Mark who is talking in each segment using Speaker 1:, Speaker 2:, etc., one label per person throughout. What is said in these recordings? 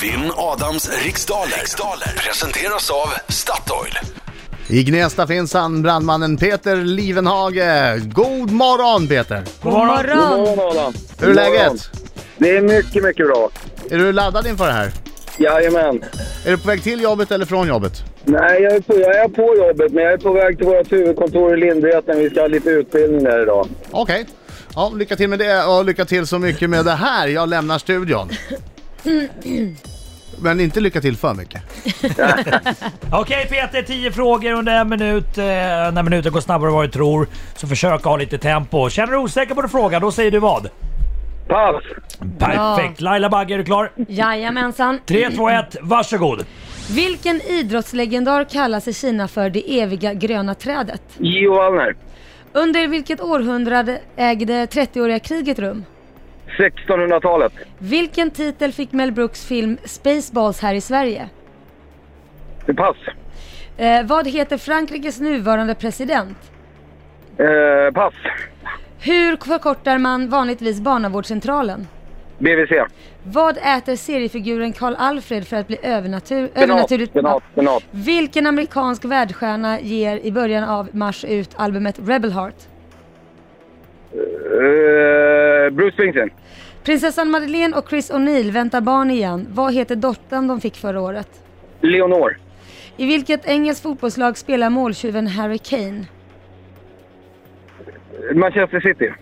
Speaker 1: Vinn Adams riksdaler. riksdaler presenteras av Statoil.
Speaker 2: I Gnesta finns han, brandmannen Peter Livenhage. God morgon Peter!
Speaker 3: God morgon!
Speaker 4: morgon Adam.
Speaker 2: Hur är läget?
Speaker 4: Det är mycket, mycket bra.
Speaker 2: Är du laddad inför det här?
Speaker 4: Jajamän.
Speaker 2: Är du på väg till jobbet eller från jobbet?
Speaker 4: Nej, jag är, på, jag är på jobbet, men jag är på väg till vårt huvudkontor i Lindräten. Vi ska ha lite utbildning där idag.
Speaker 2: Okej. Ja, lycka till med det och lycka till så mycket med det här. Jag lämnar studion. Men inte lycka till för mycket.
Speaker 3: Okej Peter, 10 frågor under en minut. Eh, när minuten går snabbare än vad du tror. Så försök ha lite tempo. Känner du osäker på din fråga, då säger du vad?
Speaker 4: Pass!
Speaker 3: Perfekt! Laila Bagge, är du klar?
Speaker 5: Jajamensan.
Speaker 3: 3, 2, 1, varsågod!
Speaker 5: Vilken idrottslegendar kallas i Kina för det eviga gröna trädet?
Speaker 4: Gio Wallner.
Speaker 5: Under vilket århundrade ägde 30-åriga kriget rum?
Speaker 4: 1600-talet.
Speaker 5: Vilken titel fick Mel Brooks film Spaceballs här i Sverige?
Speaker 4: Pass.
Speaker 5: Eh, vad heter Frankrikes nuvarande president?
Speaker 4: Eh, pass.
Speaker 5: Hur förkortar man vanligtvis barnavårdscentralen?
Speaker 4: BVC.
Speaker 5: Vad äter seriefiguren Karl Alfred för att bli övernatur-
Speaker 4: Senat.
Speaker 5: övernaturligt...
Speaker 4: Senat. Senat.
Speaker 5: Vilken amerikansk världsstjärna ger i början av mars ut albumet Rebel Heart?
Speaker 4: Eh, Bruce Springsteen.
Speaker 5: Prinsessan Madeleine och Chris O'Neill väntar barn igen. Vad heter dottern de fick förra året?
Speaker 4: Leonor.
Speaker 5: I vilket engelskt fotbollslag spelar måltjuven Harry Kane?
Speaker 4: Manchester City.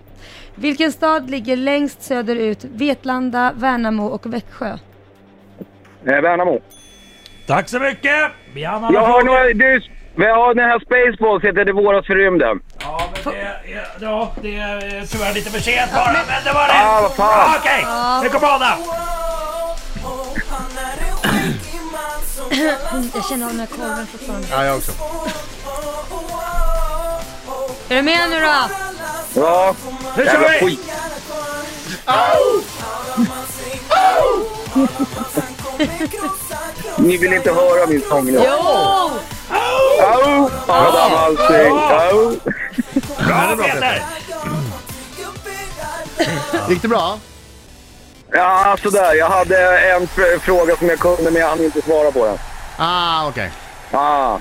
Speaker 5: Vilken stad ligger längst söderut? Vetlanda, Värnamo och Växjö.
Speaker 4: Eh, Värnamo.
Speaker 3: Tack så mycket! Vi hann alla
Speaker 4: Jag har
Speaker 3: frågor.
Speaker 4: några... Du, ja, den här Spaceballs heter Det våras för rymden.
Speaker 3: Ja, men det, är- ja, det är tyvärr lite för sent bara, men det var rätt!
Speaker 4: Ah, vad fan.
Speaker 3: Ah, Okej, nu kommer Adam!
Speaker 5: Jag känner av den här korven fortfarande.
Speaker 2: Ja, jag också.
Speaker 5: Är du med nu då?
Speaker 4: Ja.
Speaker 3: Nu
Speaker 4: Jävla
Speaker 3: kör vi!
Speaker 4: skit. Ni vill inte höra min sång nu.
Speaker 5: Jo!
Speaker 4: Au! Adam Alsing. Au!
Speaker 3: Bra Peter!
Speaker 2: Gick det bra?
Speaker 4: Ja, sådär. Jag hade en fr- fråga som jag kunde, men jag hann inte svara på den.
Speaker 2: Ah, okej.
Speaker 4: Ah.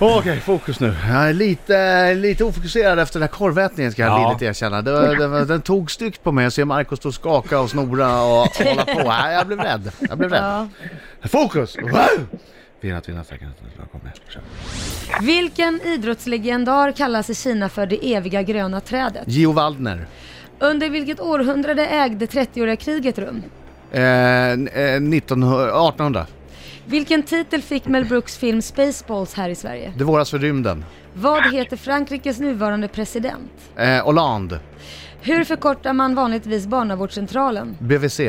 Speaker 2: Okej, fokus nu. Jag är lite, lite ofokuserad efter den här korvätningen ska jag
Speaker 3: Ja.
Speaker 2: villigt erkänna. Det, var- det, var- den tog styggt på mig. Jag ser Marco stå och skaka och snora och hålla på. Nej, jag blev rädd. Jag blev rädd.
Speaker 5: Ja.
Speaker 2: Fokus! Wow! Vinnat, vinnat, säkert. Kom igen. kör.
Speaker 5: Vilken idrottslegendar kallas i Kina för det eviga gröna trädet?
Speaker 2: Gio Waldner.
Speaker 5: Under vilket århundrade ägde 30-åriga kriget rum?
Speaker 2: Eh, eh, 1900, 1800.
Speaker 5: Vilken titel fick Mel Brooks film Spaceballs här i Sverige?
Speaker 2: Det våras för rymden.
Speaker 5: Vad heter Frankrikes nuvarande president?
Speaker 2: Eh, Hollande.
Speaker 5: Hur förkortar man vanligtvis barnavårdscentralen?
Speaker 2: BVC.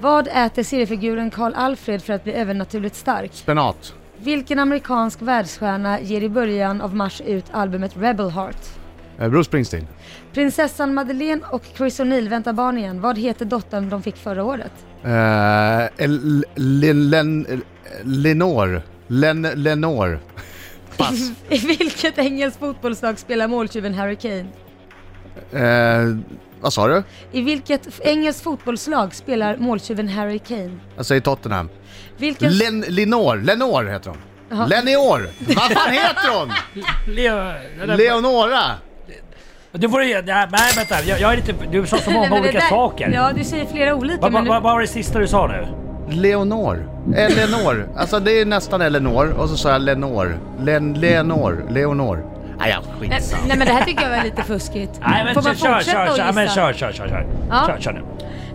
Speaker 5: Vad äter seriefiguren Karl Alfred för att bli övernaturligt stark?
Speaker 2: Spenat.
Speaker 5: Vilken amerikansk världsstjärna ger i början av mars ut albumet Rebel Heart?
Speaker 2: Eh, Bruce Springsteen.
Speaker 5: Prinsessan Madeleine och Chris O'Neill väntar barn igen. Vad heter dottern de fick förra året?
Speaker 2: Eh, El- Len- Len- eh, Lenore. Len- Lenore. Pass.
Speaker 5: I vilket engelskt fotbollslag spelar måltjuven Harry Kane?
Speaker 2: Eh, vad sa du?
Speaker 5: I vilket f- engelskt fotbollslag spelar måltjuven Harry Kane?
Speaker 2: Jag säger Tottenham.
Speaker 5: Vilken...
Speaker 2: Len- Lenore. Lenore heter hon. Lenior! Vad fan heter hon? Leonora!
Speaker 3: Du får ju... Nej, nej, vänta. Jag, jag är lite... Du sa så
Speaker 5: Nej,
Speaker 3: många
Speaker 5: men det
Speaker 3: olika
Speaker 5: där-
Speaker 3: saker.
Speaker 5: Ja, du säger flera olika
Speaker 3: Vad vad-
Speaker 5: men... nu-
Speaker 3: vad var det sista du sa nu?
Speaker 2: Leonor. Eleanor. Alltså det är nästan Eleanor och så sa jag Lenor. Len- Leonor. Leonor. Nej, jag
Speaker 5: Nej,
Speaker 2: skitsamma.
Speaker 5: Nej men det här tycker jag var lite fuskigt.
Speaker 3: Liksom. Nej men
Speaker 5: Får man
Speaker 3: kör,
Speaker 5: fortsätta
Speaker 3: kör,
Speaker 5: att
Speaker 3: kör,
Speaker 5: gissa?
Speaker 3: ja, men kör, kör, kör, kör.
Speaker 5: Ja.
Speaker 3: Kör, kör nu.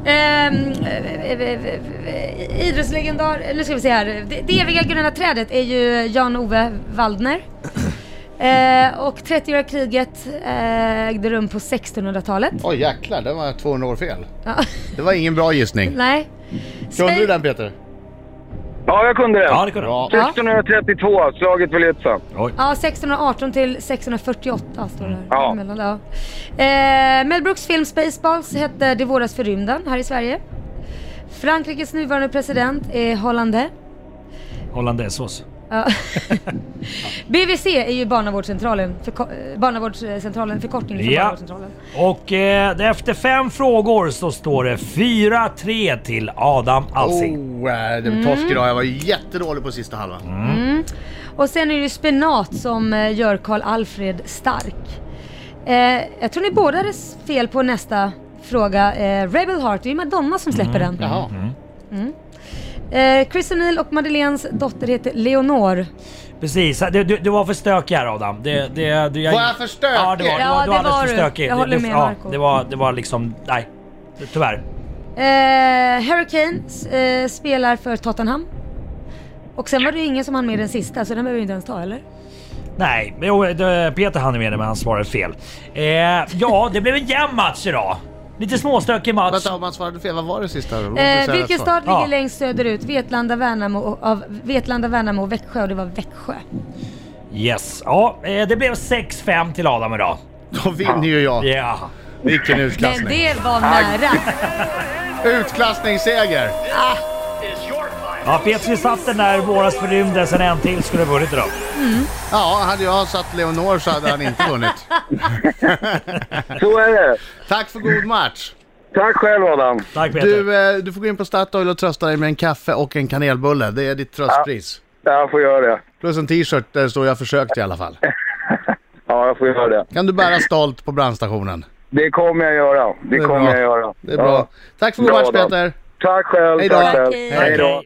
Speaker 5: Ehm, eh, eh, eh, eh, idrottslegendar, nu ska vi se här. Det, det eviga gröna trädet är ju Jan-Ove Waldner. Eh, och 30-åriga kriget eh, ägde rum på 1600-talet.
Speaker 2: Oj jäklar, det var 200 år fel.
Speaker 5: Ja,
Speaker 2: Det var ingen bra gissning.
Speaker 5: nej.
Speaker 2: Kunde du
Speaker 5: Spe-
Speaker 2: den Peter?
Speaker 4: Ja, jag kunde
Speaker 3: Ja
Speaker 4: det.
Speaker 3: det kunde
Speaker 2: Bra.
Speaker 5: Ja.
Speaker 4: 1632, slaget vid Lützen.
Speaker 5: Ja, 1618 till 1648 står det här.
Speaker 4: Ja.
Speaker 5: Emellan, ja. Eh, Mel Brooks film Spaceballs hette Det våras för rymden här i Sverige. Frankrikes nuvarande president är Hollande.
Speaker 3: Hollandaisesås.
Speaker 5: Ja, Ja. BVC är ju barnavårdscentralen, förko- eh, barnavårdscentralen förkortning för
Speaker 3: Ja.
Speaker 5: barnavårdscentralen.
Speaker 3: Och eh, efter fem frågor så står det 4-3 till Adam Alsing.
Speaker 2: Oh, eh, det var torsk idag. Jag var jättedålig på sista halvan.
Speaker 3: Mm.
Speaker 5: Och sen är det ju spenat som eh, gör Karl Alfred stark. Eh, jag tror ni båda hade s- fel på nästa fråga. Eh, Rebel Heart, det är ju Madonna som släpper den.
Speaker 2: Jaha.
Speaker 3: Mm.
Speaker 5: Eh, Chris O'Neill och Madeleines dotter heter Leonor.
Speaker 3: Precis, du, du, du var för stökig här Adam. Det, det, du, jag,
Speaker 2: Var jag för stökig?
Speaker 3: Ja, det var, du,
Speaker 5: Ja,
Speaker 3: var, du
Speaker 5: det
Speaker 3: var alldeles
Speaker 5: var
Speaker 3: för
Speaker 5: du.
Speaker 3: stökig.
Speaker 5: Jag
Speaker 3: Det-
Speaker 5: håller
Speaker 3: det,
Speaker 5: med,
Speaker 3: ja,
Speaker 5: Marco.
Speaker 3: det, var, det var liksom, nej. Tyvärr.
Speaker 5: Eh, Hurricane eh, spelar för Tottenham. Och sen var det ju ingen som hann med den sista, så den behöver vi inte ens ta eller?
Speaker 3: Nej, men jo, det- Peter hann med det men han svarade fel. Eh, ja, det blev en jämn match idag. Lite småstökig match.
Speaker 2: Vänta, om man svarade fel, vad var det sista? Låt mig
Speaker 5: Eh,
Speaker 2: säga rätt
Speaker 5: vilken
Speaker 2: svar.
Speaker 5: stad ligger
Speaker 3: Ja.
Speaker 5: längst söderut? Vetlanda, Värnamo, och- av Vetlanda, Värnamo och Växjö och det var Växjö.
Speaker 3: Yes, ja, eh, det blev 6-5 till Adam idag.
Speaker 2: Då vinner ju jag.
Speaker 3: Ja.
Speaker 2: Vilken
Speaker 5: Men
Speaker 2: utklassning.
Speaker 5: det var nära.
Speaker 2: Utklassningsseger!
Speaker 3: Ja, Petri satt den där i våras för rymden, sen en till skulle ha vunnit idag.
Speaker 2: Ja, hade jag satt Leonor så hade han inte vunnit.
Speaker 4: Så är det.
Speaker 2: Tack för god match!
Speaker 4: Tack själv Adam.
Speaker 3: Tack Peter.
Speaker 2: Du, eh, du får gå in på Statoil och trösta dig med en kaffe och en kanelbulle. Det är ditt tröstpris.
Speaker 4: Ja, jag får göra det.
Speaker 2: Plus en t-shirt där det står jag försökte i alla fall.
Speaker 4: Ja, jag får göra det.
Speaker 2: Kan du bära stolt på brandstationen.
Speaker 4: Det kommer jag göra. Det
Speaker 2: är
Speaker 4: kommer
Speaker 2: bra.
Speaker 4: jag göra.
Speaker 2: Det är bra.
Speaker 4: Ja.
Speaker 2: Tack för god
Speaker 4: Bra
Speaker 2: match
Speaker 4: då.
Speaker 2: Peter!
Speaker 4: Tack själv.
Speaker 2: Hej då.
Speaker 4: Tack själv.
Speaker 5: Tack, hej.
Speaker 4: Hej då.